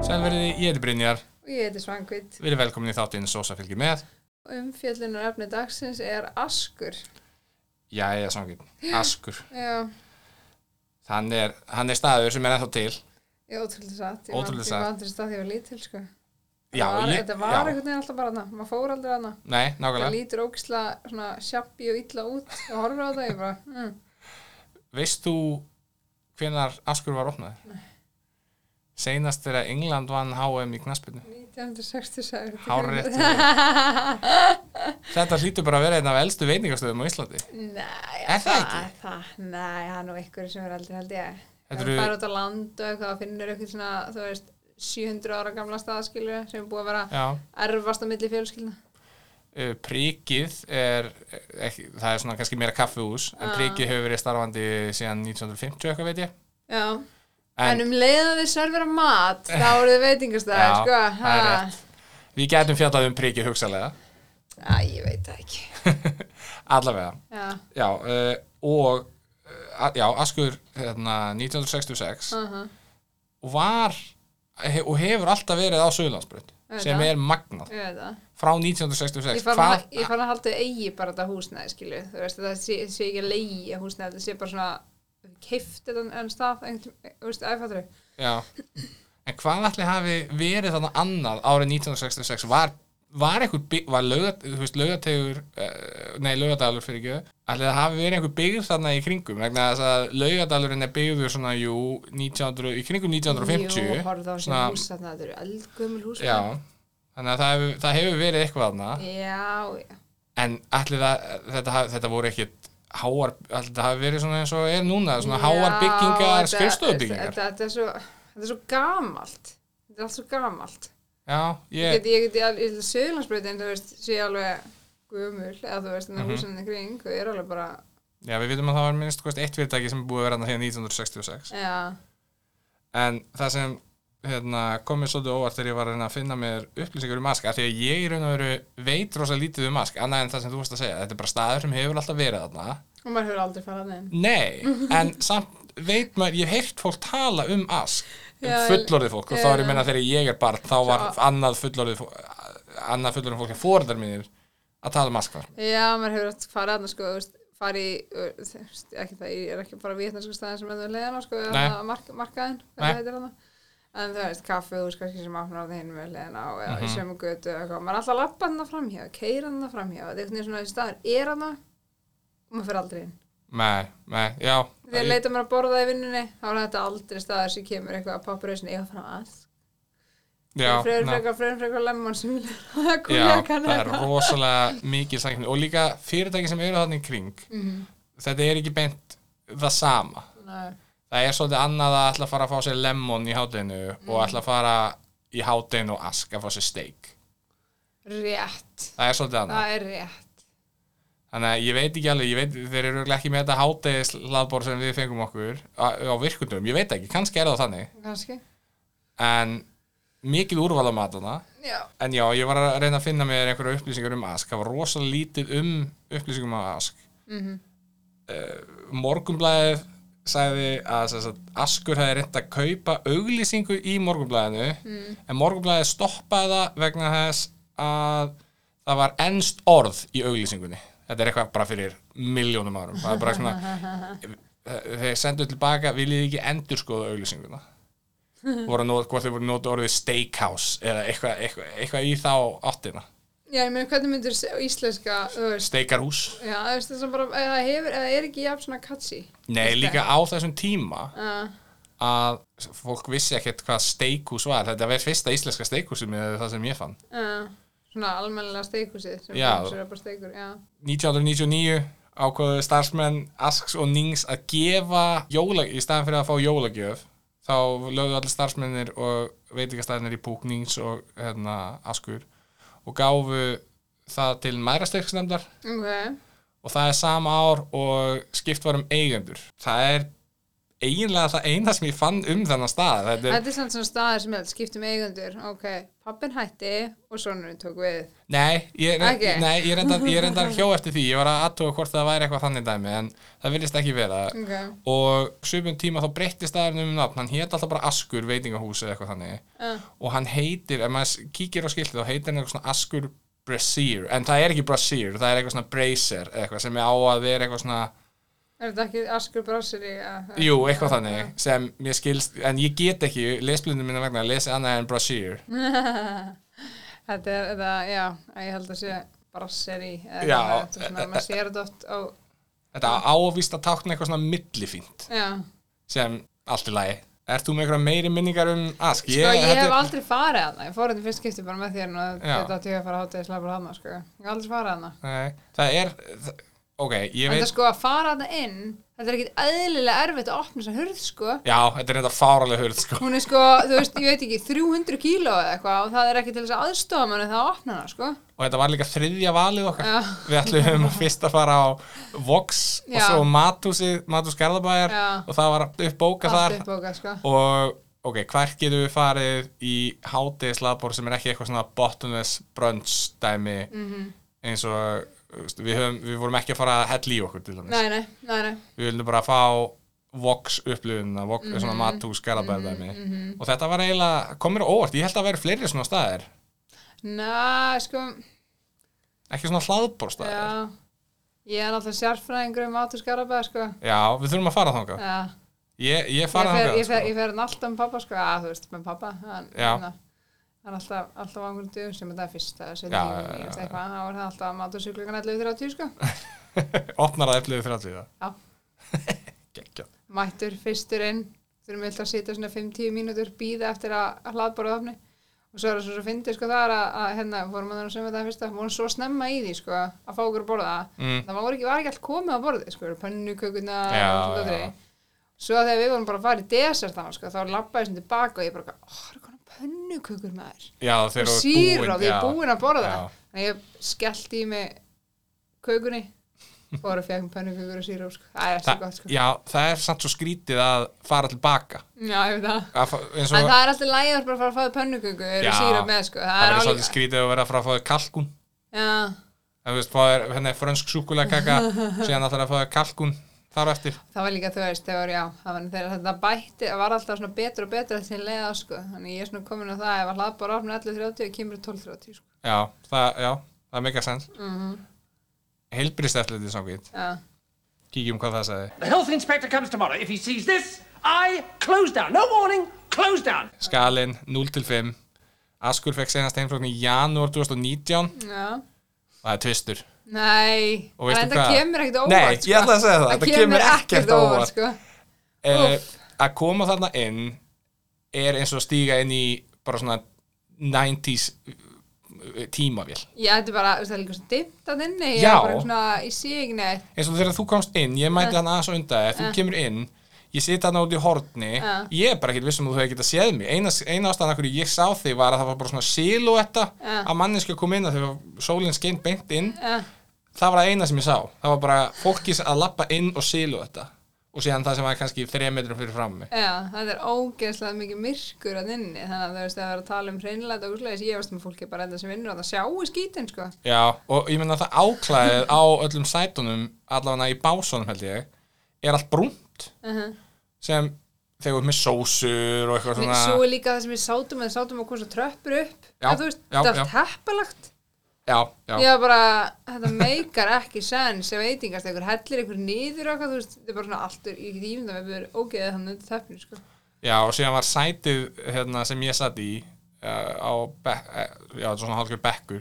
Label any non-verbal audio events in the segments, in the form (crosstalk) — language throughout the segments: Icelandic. Ég heiti Brynjar, og ég heiti Svangvít við erum velkomin í þáttinn Sosa fylgir með. og umfjöllunar efni dagsins er askur Jæja, svangin, askur. já, Hann er, hann er staður sem er ennþá til. ég er ótrúlega satt ég Ótrúlega satt satt. ég var þess að því að ég var lítil sko. Já, Það var, ég- þetta var já. einhvern veginn alltaf bara hana maður fór aldrei hana Nei, það nákvæmlega. lítur ógisla svona sjappi og illa út og horfir á það ég bara mm. Veist þú hvenar askur var opnaður? Nei. Seinast þegar England vann HM í knaspinu. 1966 (laughs) Hárrétt. Þetta hlýtur bara að vera einn af elstu veiningastöðum á Íslandi. Nei, Er það ekki? það, nei, það er nú einhverju sem er aldrei held ég. Þetta Það eru- fara út á land og eitthvað og finnur eitthvað svona, þú veist, 700 ára gamla staðaskilur sem er búið að vera Já. erfast á milli fjölskyldna. Uh, príkið er, eh, ekki, það er svona kannski meira kaffehús, en Ah. príkið hefur verið starfandi síðan 1950 eitthvað veit ég. Já, en, En, um leiða þið servera mat, þá eru þið veitingastæðir, Já, sko. það er rétt. við gætum fjallað um príkið hugsalega, Æ, ég veit það ekki. allavega. Já, Já, uh, og uh, a- já, Askur hérna, 1966 uh -huh. var he, og hefur alltaf verið á Suðlandsbrönd Auðvitað. sem er magnað ég veit það. frá Ég 1966 fann að, Hvað- ég fann að halda eigi bara þetta húsnæði, skilju. Þú veist, það sé, sé ekki að leigja húsnæði, þetta sé bara svona keift en, en stað, en, þú veist, æfatru. Já. En hvað ætli hafi verið þannig annað árið 1966? Var, var einhver byggð, var laugat, þú veist, laugategur, uh, nei, laugadalur fyrir ekki, ætli það hafi verið einhver byggð þarna í kringum, vegna þess að laugadalurinn er byggður svona, jú, 1900, í kringum 1950. Jú, horfðu á þessi svona- hús þarna, þetta eru eldgumul hús sko. Já, þannig að það hefur, það hefur verið eitthvað þarna. já, já. En ætli það, þetta, hafi- þetta voru ekkit háar, ætli þetta hafi verið svona eins og er núna, svona háar Já, byggingar, þetta- skrifstofubyggingar. þetta, þetta, er svo, þetta er svo gamalt Þetta er allt svo gamalt Já, ég, Ég get, ég get, ég get, Söðlandsbreytin, þú veist, sé alveg gömul, eða þú veist, þannig Mhm. að húsinni kring og er alveg bara, já, við vitum að það var minnst kost eitt fyrirtæki sem er búið að vera þarna síðan 1966. já, En það sem hérna, kom mér svolítið óvart þegar ég var að reyna að finna mér upplýsingur um Ask, af því að ég í raun og veru veit rosa lítið um Ask, annað en það sem þú varst að segja, þetta er bara staður sem hefur alltaf verið þarna. og maður hefur aldrei farað inn Nei, en samt veit maður, ég hef heyrt fólk tala um ask um Já, fullorðið fólk og þá er já. ég meina þegar ég er barn þá var annað fullorðið fólk annað fullorðið fólk en fóreldar mínir að tala um ask var Já, maður hefur oft farið aðna, sko, þú veist, farið í, ö, þú veist, ekki það, ég er ekki bara vietna, sko, staðin sem er við leiðina, sko, Nei. þarna mark, markaðin, Nei. hvað heitir hann En þú veist, kaffihús, kannski sem opnar á þeim við leiðina og mm Mhm. -hmm. sem götu og eitthvað, maður er alltaf að lappa hann framhjá, keira hann framhjá, þetta er einhvern veginn svona þessi staður, er hann og maður fer aldrei inn. Nei, nei, já Þegar ég leita mér að borða í vinnunni, þá er þetta aldrei staður sem kemur eitthvað að poppa rausinni eða frá að. já, ná. Fröðurfrekar, fröðurfrekar, lemon sem vilja að já, kúljakan það er rosalega mikil sækni og líka fyrirtæki sem eru þannig kring Mhm. þetta er ekki beint það sama Nei. það er svolítið annað að ætla að fara að fá sér lemon í hátinu Mhm. og ætla að fara í hátinu og ask að fá sér steik Rétt. það er svolítið annað Það er rétt. Þannig að ég veit ekki alveg, ég veit, þeir eru örugglega ekki með þetta hátegis hlaðbor sem við fengum okkur á, á virkundum, ég veit ekki, kannski er það þannig Kanski. en mikið úrval á matana Já. en já, ég var að reyna að finna mér einhverja upplýsingar um Ask, það var rosalega lítið um upplýsingum á Ask Mm uh, Morgunblæðið sagði að sem sagt, Askur hefði reynt að kaupa auglýsingu í Morgunblæðinu en Morgunblæðið stoppaði það vegna þess að það var ennst orð í auglýsingunni þetta er eitthvað bara fyrir miljónum árum það er bara svona Eh, þeir sendu tilbaka, viljið þið ekki endurskoða auglýsinguna voru nót, hvort þau voru nót orðið steakhouse eða eitthvað, eitthvað, eitthvað í þá áttina Já, ég meina, hvernig myndur íslenska, þú veist, steikarhús já, þú veist, þess að bara, eða hefur, eða er ekki jafn svona katsi. nei, líka á þessum tíma Uh, að fólk vissi ekkert hvað steikhús var þetta var fyrsta íslenska steikhúsi með það sem ég fann uh, svona almennilega steikhúsið sem Já. bómsur er bara steikur, já. 1999 ákvaðu starfsmenn Asks og Nings að gefa jóla, í staðan fyrir að fá jólagjöf þá lögðu allir starfsmennir og veitingastæðinir í búk Nings og hérna, Askur og gáfu það til mærastyrksnefndar Ok, og það er sama ár og skipt var um eigendur það er eiginlega það eina sem ég fann um þennan stað þetta er, Þetta er samt svona staðar sem held skiptum eigundur ok, pappin hætti og sonurinn tók við nei, ég, Ok. nei, ég reyndar, ég reyndar hjó eftir því, ég var að aðtuga hvort það væri eitthvað þannig dæmi, en það viljist ekki vera ok, og svipum tíma þá breytti staðurinn um nafn, hann hét alltaf bara Askur veitingahús eða eitthvað þannig uh, og hann heitir, ef maður kíkir á skiltið þá heitir hann eitthvað svona Askur Brasir en það er ekki Brasir, það er eitthvað svona Bracer eitthvað sem er á að vera eitthvað svona er þetta ekki Askur Brasseri eða- jú, eitthvað þannig sem mér skilst, en ég get ekki lesblindum minna vegna að lesa annað en Brasir þetta er, þetta, já, ég held að sé Brasseri eða Já, e- eitthvað, þetta er svona, maður sér þetta oft á þetta ávist að tákna eitthvað svona millifínt já, sem allt í lagi Ert þú með eitthvað meiri minningar um Ask? sko ég, þetta hef er- aldrei farið hana ég fór þetta í fyrst skipti bara með þér og Já. þetta átti ég að fara hátíðislega bara hana sko. ég hef aldrei farið hana Nei, það er, það, ok, ég en veit það sko að fara hana inn þetta er ekkit eðlilega erfitt að opna þessa hurð sko Já, þetta er þetta fáralega hurð, sko hún er sko, þú veist, ég veit ekki 300 kíló eða eitthvað og það er ekki til þess að aðstofa manni það að opna hana, sko og þetta var líka þriðja valið okkar Já. við ætlum fyrst að fara á Vox og Já. svo Matúsið, Matús Garðabæjar Já. og það var uppbókað þar allt uppbókað, sko og ok, hvert getum við farið í hátiðislaðbór sem er ekki eitthvað svona bottomless brunch dæmi Mhm. -hmm. eins og þú veist, við, höfum, við vorum ekki að fara að hella í okkur til dæmis nei, nei, nei, nei, við vildum bara fá Vox upplifuna, Vox, Mhm. svona Matús Garðabæjar dæmi og þetta var eiginlega, komur óvart, ég held að vera fleiri svona staðir Næ, sko ekki svona hlaðbórstaðir já, ég er alltaf sérfræðingur um Matur Skarabæð, sko Já, við þurfum að fara þangað. já, Ég, ég ég fara fer, þangað, sko. ég fer, ég fer nátt um pappa, sko að, þú veist, með pappa hann, Já. hérna, hann er alltaf, alltaf á einhvern dögum sem þetta er fyrst eða Já, setja í já, já, minni, já. eitthvað, þá er það alltaf Matur Sjúklingan 11.30, sko sko. (laughs) Opnar það eflið 30 það. (laughs) Já. Gekka. mættur fyrstur inn þurfum við að sitja svona 5-10 mínútur býða eftir að, að hlaðborða opni og svo er það svona svo fyndið sko það er að, að hérna, fórum að það sem þetta fyrst að vorum svo snemma í því sko að fá okkur að borða Mm. það var ekki, var ekki allt komið að borðið sko pönnukökuna Já, og já. svona já. svo að þegar við vorum bara að fara í desert þá, sko, þá labbaði svona tilbaka og ég bara oh, er konar pönnukökur maður Já, þeir og eru síróf, ég er já. búin að borða Já. þannig að ég skellti í mig kökunni fór og fekk pönnukökur og síróf sko. það er svo Það, gott sko já, það er samt svo skrítið að fara tilbaka. já, ég veit það Að fa- Eins En og það er alltaf lægjur bara að fara að fáið pönnuköku Já. og síra með sko Það það er verður alveg svolítið skrítið að vera að fara að fá þér kalkun. Já, Það veist, fáður henni frönsk (laughs) súkulegkaka, síðan alltaf að fá þér kalkun þar á eftir. það var líka þú veist þegar já Það var þegar þetta bætti, það var alltaf svona betra og betra þegar leiða á sko Þannig ég er svona komin á það ef að hlaða bara opna 11.30 og kemur í 12.30 sko Já, það, já, það er mega sens. mm Heilbristætlið samkvæmt. Já, Kíkjum hvað það sagði. The health inspector comes tomorrow. If he sees this, I close down. No warning, close down. Skalinn 0 til 5. Askur fekk senast heimflokni í janúar 2019. já Það er tvistur. Nei, Og veistu en hvað? það kemur ekkert óvart Nei, sko. ég ætla að segja það, þetta kemur ekkert óvart. sko. uh, Úff. að koma þarna inn er eins og að stíga inn í bara svona 90s tímavél Já, þetta er bara, þú veist, það er líka svo dimmt að inni Ég Já. er bara svona, ég sé ekki neitt eins og þegar þú komst inn, ég mæti hann aðeins á undan þér, þú kemur inn ég sit hann út í horni Já. ég er bara ekkert vissum að þú hefði getað séð mig eina, eina ástæðan af hverju ég sá þig var að það var bara svona silúetta Já. að manneski kom inn að þegar sólinn skein beint inn Já, það var það eina sem ég sá það var bara fólkis að lappa inn og silúetta og síðan það sem var kannski 3 metrum fyrir frammi já það er ógeðslega mikið myrkur að inni Þannig að þú veist, það er að tala um hreinlega og úrlega Ég veist með fólki bara þetta sem vinnur að það sjáu skítin sko Já, og ég meina að það áklæðið á öllum sætunum, allavega í básunum held ég, er allt brúnt sem þegar við erum með sósur og eitthvað Nei, svona Svo er líka það sem við sátum að við sátum að koma svo tröppur upp Já, að þú veist, já, þetta já. er heppalagt Já, já, ég var bara, þetta meikar ekki sens ef eitingast einhver hellir einhver niður og eitthvað, þú veist, þetta er bara svona allt ég get ímynda með við erum ógeðið hann undir teppinu sko. já, og síðan var sætið hérna, sem ég satt í uh, á bekk, uh, já, svona hálfur bekkur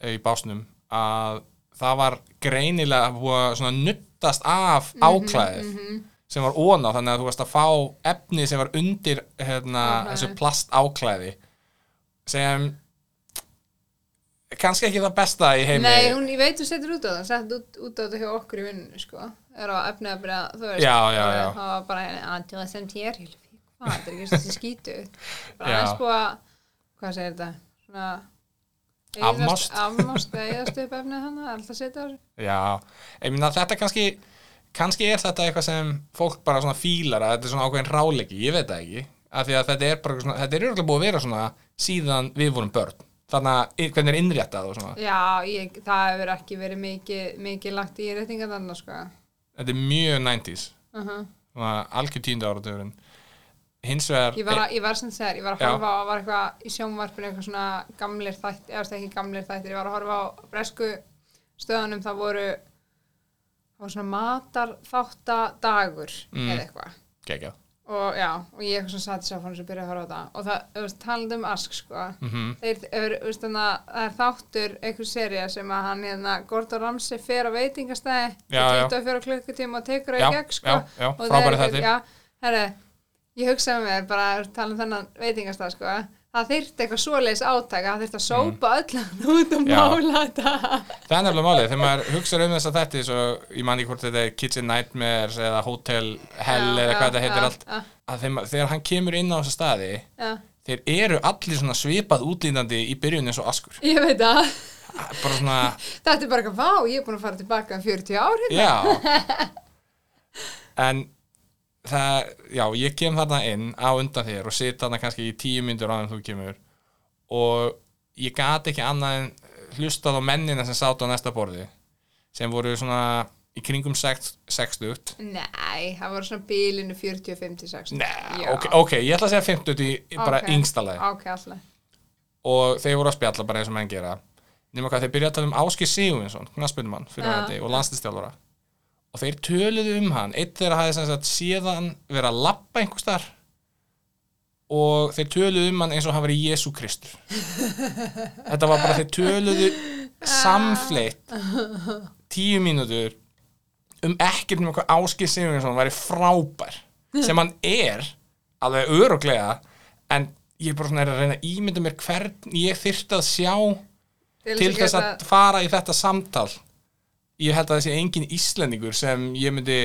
eh, í básnum að það var greinilega búið að svona nuttast af áklæðið sem var óná, þannig að þú varst að fá efni sem var undir hérna, Áklæði. þessu plast áklæði sem kannski ekki það besta í heimi Nei, hún, ég veit þú setur út á það sett út, út á þetta hjá okkur í vinnunni sko. er á efnið að byrja, þú Já, veist já, já. það var bara, að það sem þér hvað, þetta er ekki þessi skítu (laughs) bara Já. aðeins búið að, hvað segir þetta svona eyðast- Afmást. afmást eða eðast upp efnið þannig alltaf setja á þessu Já, ég meina þetta kannski kannski er þetta eitthvað sem fólk bara svona fílar að þetta er svona ákveðin ráleiki, ég veit það ekki af því að þetta er bara eitthvað svona, þetta er örgulega búið að vera svona síðan við vorum börn þannig að í- hvernig er innréttað og svona Já, ég, það hefur ekki verið mikið, mikið lagt í reytingan annars, sko. þetta er mjög 90s Uh svona algjör tínda áratugurinn hins vegar Ég var, að- ég var sem segir, ég var að Já. horfa á, var eitthvað í sjónvarpinu eitthvað svona gamlir þættir, eða þú veist, ekki gamlir þættir, ég var að horfa á bresku stöðunum, það voru, það voru svona matarþáttadagur Mm. eða eitthvað. geggjað Og já, og ég eitthvað svona satt í sjófann sem byrjaði að horfa á það. Og það, þú veist, talandi um Ask, sko, Mhm. þeir, er, veist, þannig að það er þáttur einhver serið sem að hann, hérna, Gordon Ramsay fer á veitingastæði, Já, já. 24 klukkutíma og tekur Já, að gegn, sko. já, já, Og það er frábæri eitthvað- þættir. Já, herru, ég hugsaði með mér bara að tala um þennan veitingastæð, sko, það þyrfti eitthvað svoleiðis átaka, það þyrfti að sópa öll hann út og Mhm. Já. mála þetta. Það er nefnilega málið, þegar maður hugsaður um þess að þetta svo, ég man ekki hvort þetta er Kitchen Nightmares eða Hotel Hell Já, eða já, hvað þetta heitir já, allt já. að þeim, þegar hann kemur inn á þessa staði Já, þeir eru allir svona svipað útlýndandi í byrjun eins og askur ég veit að bara svona, þetta er bara eitthvað, vá, ég er búin að fara tilbaka um 40 ár hérna. (laughs) já en það, já, ég kem þarna inn á undan þér og sit þarna kannski í tíu myndur á þeim þú kemur og ég gat ekki annað en hlustað á mennina sem sátu á næsta borði sem voru svona í kringum sex, sextugt Nei, það voru svona bílinu 40, 50, 60. Nei, Já. ok, ok, ég ætla að segja 50 í í bara Ok. okay. yngstalagi Ok, alltaf. og þeir voru að spjalla bara eins og menn gera nema hvað, þeir byrja að tala um Áski Sigurvinsson knaspunumann, fyrir hætti, og landslistjálfara og þeir töluðu um hann eitt þeirra hafði sem sagt síðan verið að lappa einhvers þar og þeir töluðu um hann eins og hann verið Jésu Kristur þetta var bara þeir töluðu samfleitt tíu mínútur um ekkert nema hvað Áski Sigurvinsson væri frábær sem hann er alveg öruglega en ég bara svona er að reyna að ímynda mér hvern ég þyrfti að sjá til þess að fara í þetta samtal ég held að það sé engin íslendingur sem ég myndi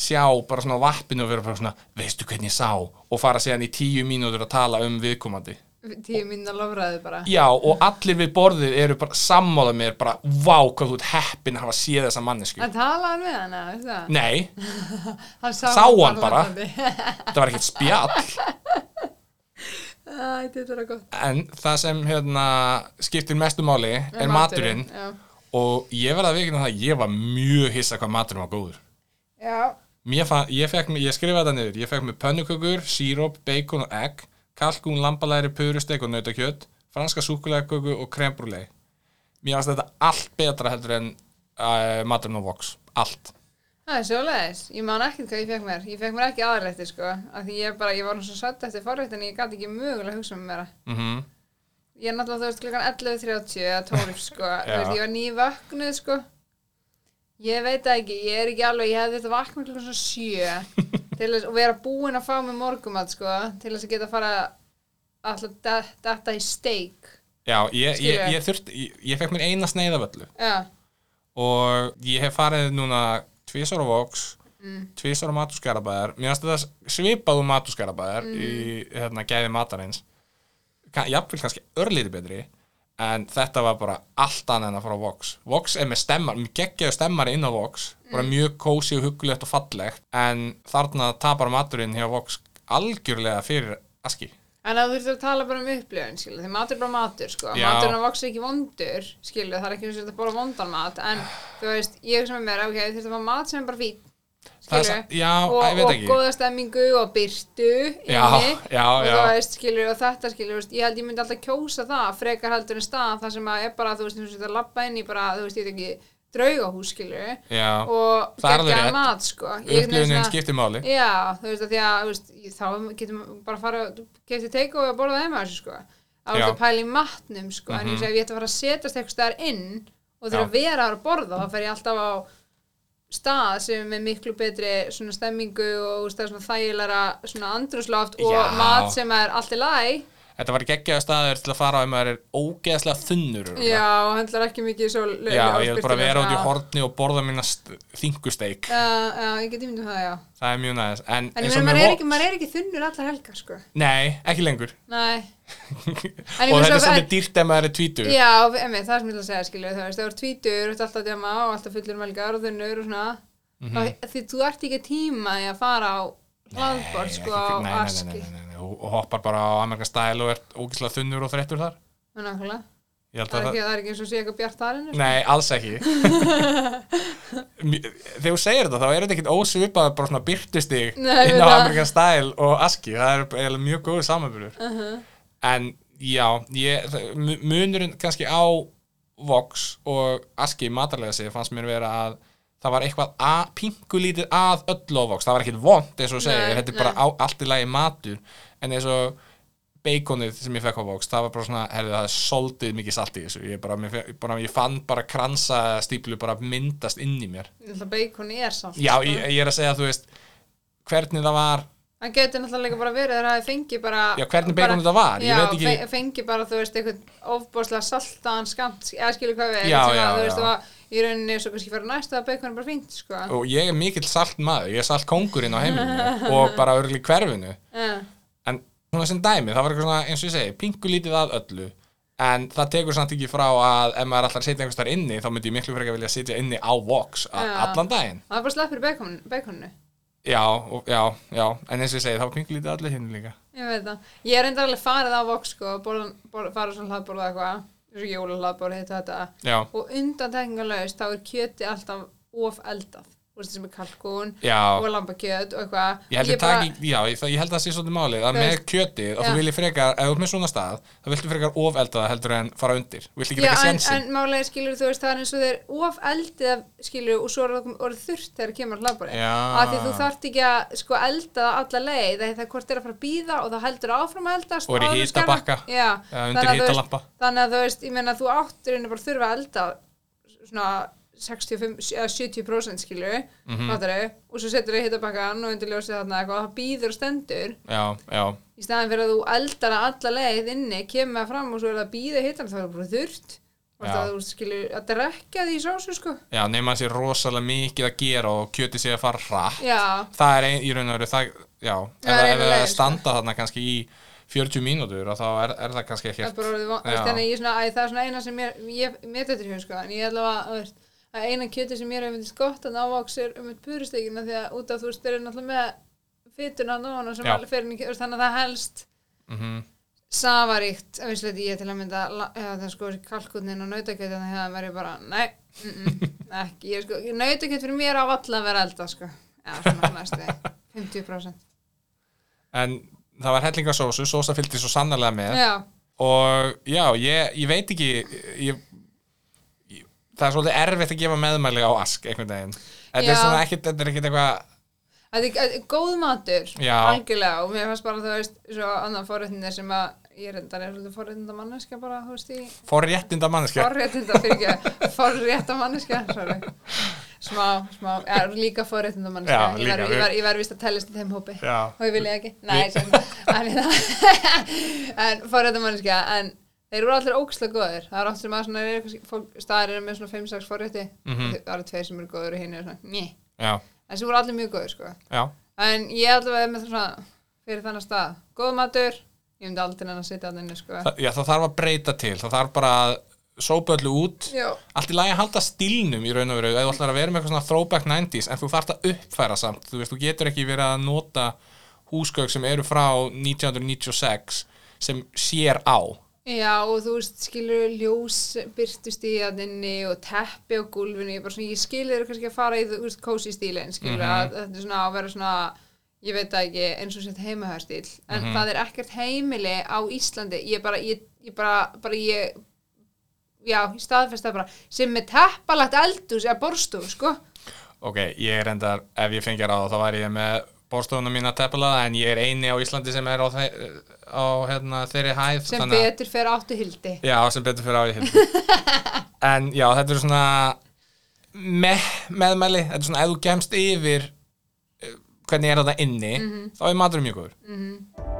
sjá bara svona á vappinu og vera bara svona veistu hvernig ég sá og fara síðan í tíu mínútur að tala um viðkomandi Tíu minna lofraði bara. já og allir við borðið eru bara sammála mér bara vá hvað þú ert heppin að hafa séð þessa mannesku Það talaði hann við hana, veist það? nei, Hann Sá hann bara. labbandi. þetta var ekkert spjall (laughs) Æ, þetta er gott. en það sem hérna, skiptir mestu máli er maturinn Já. og ég verða að veikina það að ég var mjög hissa hvað maturinn var góður Já. Mér fann, ég, fekk, mér- ég skrifaði það niður, ég fekk mér pönnukökur, síróp, bacon og egg kalkún, lambalæri, purustek og nautakjöt franska súkulæköku og krembrúlei mér fannst þetta allt betra heldur en uh, maturinn og voks, allt Það er svoleiðis. Ég man ekkert hvað ég fekk mér. Ég fekk mér ekki aðrættir, sko. Af því ég bara, ég var nú svo satt eftir forréttin, ég gat ekki mögulega hugsa með mér. mm Ég er náttúrulega, þú veist, klukkan 11.30 eða 12, sko. Þú veist, ég var nývöknuð, sko. Ég veit það ekki, ég er ekki alveg, ég hefði þetta vaknað klukkan svona 7 til þess og vera búin að fá mig morgumat, sko, til þess að geta fara alltaf de- detta í steik. já, ég, ég, Skilurðu? ég, þurft, ég, ég fekk mér eina sneið af öllu Já, og ég hef farið núna tvisar á Vox mm. tvisar á matúskarabæðar mér finnst þetta svipað um matúskarabæðar í hérna, gæði matarins Ka jafnvel kannski örlítið betri en þetta var bara allt annað en að fara á Vox Vox er með stemmar, mér geggjaðu stemmari inn á Vox bara mjög kósi og huggulegt og fallegt en þarna tapar maturinn hjá Vox algjörlega fyrir aski en að þú þurftur að tala bara um upplifun, skilu, því matur er bara matur, sko. Já. Maturinn að voksa ekki vondur, skilu, það er ekki eins og þetta bara vondan mat, en þú veist, ég hugsa með mér, ok, þú þurftur að fá mat sem er bara fín, Það er skilur, sa- já, og, ég veit og ekki. góða stemmingu og byrtu Já, já, og já. þú veist, skilur, og þetta skilur, þú veist, ég held ég myndi alltaf kjósa það frekar heldur en stað, það sem að er bara þú veist, þú veist, að labba inn í bara, þú veist, ég veit ekki draugahús, skilur, Já, og það er alveg geggjaðan rétt. mat, sko Ég er upplifunin svona- skiptir máli Já, þú veist að því að þú veist, ég- þá getum við bara að fara getur teika og borða heima þessu sko að þú Já. Mhm. veist að pæla í matnum sko en ég segi ef ég ætti að fara að setjast eitthvað staðar inn og þurfa Já. að vera þar að borða þá fer ég alltaf á stað sem er með miklu betri svona stemmingu og þú veist, það er svona þægilega svona andrúsloft og Já. mat sem er allt í læg Þetta var geggjaðu staður til að fara á ef maður er ógeðslega þunnur örugglega. Já, og hendlar ekki mikið svo hérna. Já, ég vil bara vera út í horni og borða mína st- þingusteik um Já, já, ég get ímyndum það, já Það er mjög næðis En, En ég eins meina, og maður með er, Vox- ekki, maður er ekki þunnur allar helgar, sko Nei, ekki lengur Nei En ég Og meina þetta er svo- svolítið dýrt ef maður er tvítur Já, um emi, það er sem ég ætla að segja, skilju, þú veist, það voru tvítur, þú ert alltaf djama og alltaf fullur melgar og þunnur og svona, og því þú ert ekki tíma í að fara á Mhm. Nei, hlaðbord sko ekki- nei, nei, á nei, aski nei, nei, nei, og og hoppar bara á Amerikan stæl og ert ógislega þunnur og þreyttur þar en nákvæmlega, Ég held að það er það, ekki, það er ekki eins og sé eitthvað bjart þar inni sko. nei, alls ekki Mér- Þegar þú segir þetta þá er þetta ekkit ósvipað bara svona byrtustig Nei, ég inn veit á það. Amerikan stæl og aski það er eiginlega mjög góðu samanbyrður en já, ég, það- mu- munurinn kannski á Vox og aski matarlega sig fannst mér vera að það var eitthvað að, pingulítið að öllu á Vox það var ekkit vond eins og þú segir, Nei, þetta er bara á, allt í lagi matur en eins og baconið sem ég fekk á Vox það var bara svona, herðu það er soldið mikið salt í þessu ég, bara, mér, fe- bara, ég fann bara kransa stíplu bara myndast inn í mér náttúrulega bacon er samt já, sko. ég, ég er að segja þú veist hvernig það var Það getur náttúrulega líka bara verið þegar það fengi bara Já, hvernig bacon bara- þetta var, ég já, veit ekki- fe- fengi bara, þú veist, einhvern ofbóðslega saltaðan skamt eða skilur hvað við Já, sem já, að, Þú veist, já. það var í rauninni svo kannski fyrir næst að bacon er bara fínt, sko og ég er mikill salt maður, ég er salt kongurinn á heimilinu og bara örgli hverfinu Já, en svona sem dæmi, það var eitthvað svona eins og ég segi, pingulítið að öllu en það tekur samt ekki frá að ef maður ætlar að sitja einhvers þar inni, þá myndi ég miklu frekar vilja sitja inni á Vox a- Já. allan daginn Það er bara sleppur bacon, baconu Já, og, já, já, en eins og ég segi, þá pingu lítið allir hinn líka. Ég veit það. Ég er reyndar alveg farið á Vox sko, borðan, borð, farið svona hlaðborð eða eitthvað, þessu jólahlaðborð heitir þetta. Já, Og undantekningarlaust þá er kjöti alltaf of eldað. Þú veist sem er kalkún Já. og lambakjöt og eitthvað. ég held að taki, já, ég, það- ég held að það sé svolítið málið að Þú með veist. kjötið og þú Já. viljið frekar, ef þú ert með svona stað, þá viltu frekar ofeldaða heldur en fara undir. Þú vilt ekki Já, taka en, sensin. en málega skilur þú veist það er eins og þeir of eldið skilur og svo er það orðið þurrt þegar kemur hlaðborðið. Já. Af því þú þarft ekki að sko elda það alla leið þegar það hvort er að fara að býða og það heldur áfram að eldast. Og er í áður en þú skælar. hitabakka, Já. eða undir Þannig að þú veist- hitalampa. þannig að þú veist, ég meina þú áttur en bara að þurfa að elda svona 65, eða 70% skilur mm Mhm. og svo setur þau hittabakkan og undir ljósið þarna eitthvað og það býður og stendur Já, já, í staðan fyrir að þú eldar að alla leið inni kemur það fram og svo er það að býða hittan þá er það bara þurrt og Já. það þú skilur að drekka því í sásu sko já, nema sé rosalega mikið að gera og kjötið sé að fara hratt. já, Það er ein, í raun og veru, það, já, ef Það er það eina er að leið, sko. standa þarna kannski í 40 mínútur og þá er, er það kannski það er ekkert. bara orðið vond Já. þannig að ég svona, æ, það er svona eina sem mér, ég, mér þetta er hjá sko en ég ætla að, þú veist, að eina kjöti sem mér hefur myndist gott að náváks er um eitt purustekina því að út af þú veist, þeir eru náttúrulega með fytuna á hana sem Já. Mhm. alveg fer inn í kjöti þannig að það helst safaríkt, að við sleti ég til að mynda la- eða það sko kalkunin og nautakjöti þannig að það verður bara, nei, mm -mm, (laughs) ekki ég, sko, nautakjöti fyrir mér á alla að vera elda sko, já, svona næstu (laughs) 50% En það var hellingasósu, sósa fylgdi svo sannarlega með. já, og já, ég, ég veit ekki ég, ég, það er svolítið erfitt að gefa meðmæli á ask einhvern veginn þetta er Já. svona ekkit, þetta er ekkit eitthvað að því að- góð matur Já. algjörlega og mér fannst bara þú veist svo annan forréttindir sem að ég reyndar er svolítið forréttinda manneska bara þú veist í forréttinda manneskja forréttinda fyrir (laughs) ekki forrétta manneska sorry. smá, smá, ja, líka forréttinda manneska Já, ég, var, líka, ég, var, við- ég var vist að tellist í þeim hópi Já. og ég vilja ekki Nei, sem, en, (laughs) en forréttinda manneska en þeir eru allir ókslega góðir það er oft sem að svona er, staðar eru með svona 5-6 forrétti Mhm. það eru tveir sem eru góður og hinn er svona njö. já, en sem voru allir mjög góðir sko já, En ég allavega er með svona fyrir þannig stað. Góð matur, ég myndi aldrei enn að sitja að þenni, sko. það, já, það þarf að breyta til það þarf bara að sópa öllu út Já. allt í lagi að halda stílnum í raun og veru eða þú ætlar að vera með eitthvað svona throwback 90s en þú þarft að uppfæra samt, þú veist, þú getur ekki verið að nota húsgögg sem eru frá 1996 sem sér á Já, og þú veist, skilur ljós byrtust í að þenni og teppi á gólfinu, ég bara svona, ég skilur þeir kannski að fara í, þú veist, cozy stílinn, skilur Mhm. að þetta er svona að vera svona, ég veit það ekki, eins og sett heimahörstíl. En Mhm. það er ekkert heimili á Íslandi, ég bara, ég, ég bara, bara ég, já, ég staðfesta bara, sem er teppalagt eldús eða borstúr, sko. Ok, ég er endar, ef ég fengi ráða þá væri ég með borstofuna mína teppalaða en ég er eini á Íslandi sem er á, þe á hérna, þeirri hæð Sem þannig að- betur fer áttu hildi. Já, sem betur fyrir á ég hildi En já, þetta er svona með, meðmæli þetta er svona ef þú gemst yfir eh, hvernig er þetta inni þá er maturum mjög góður Mhm.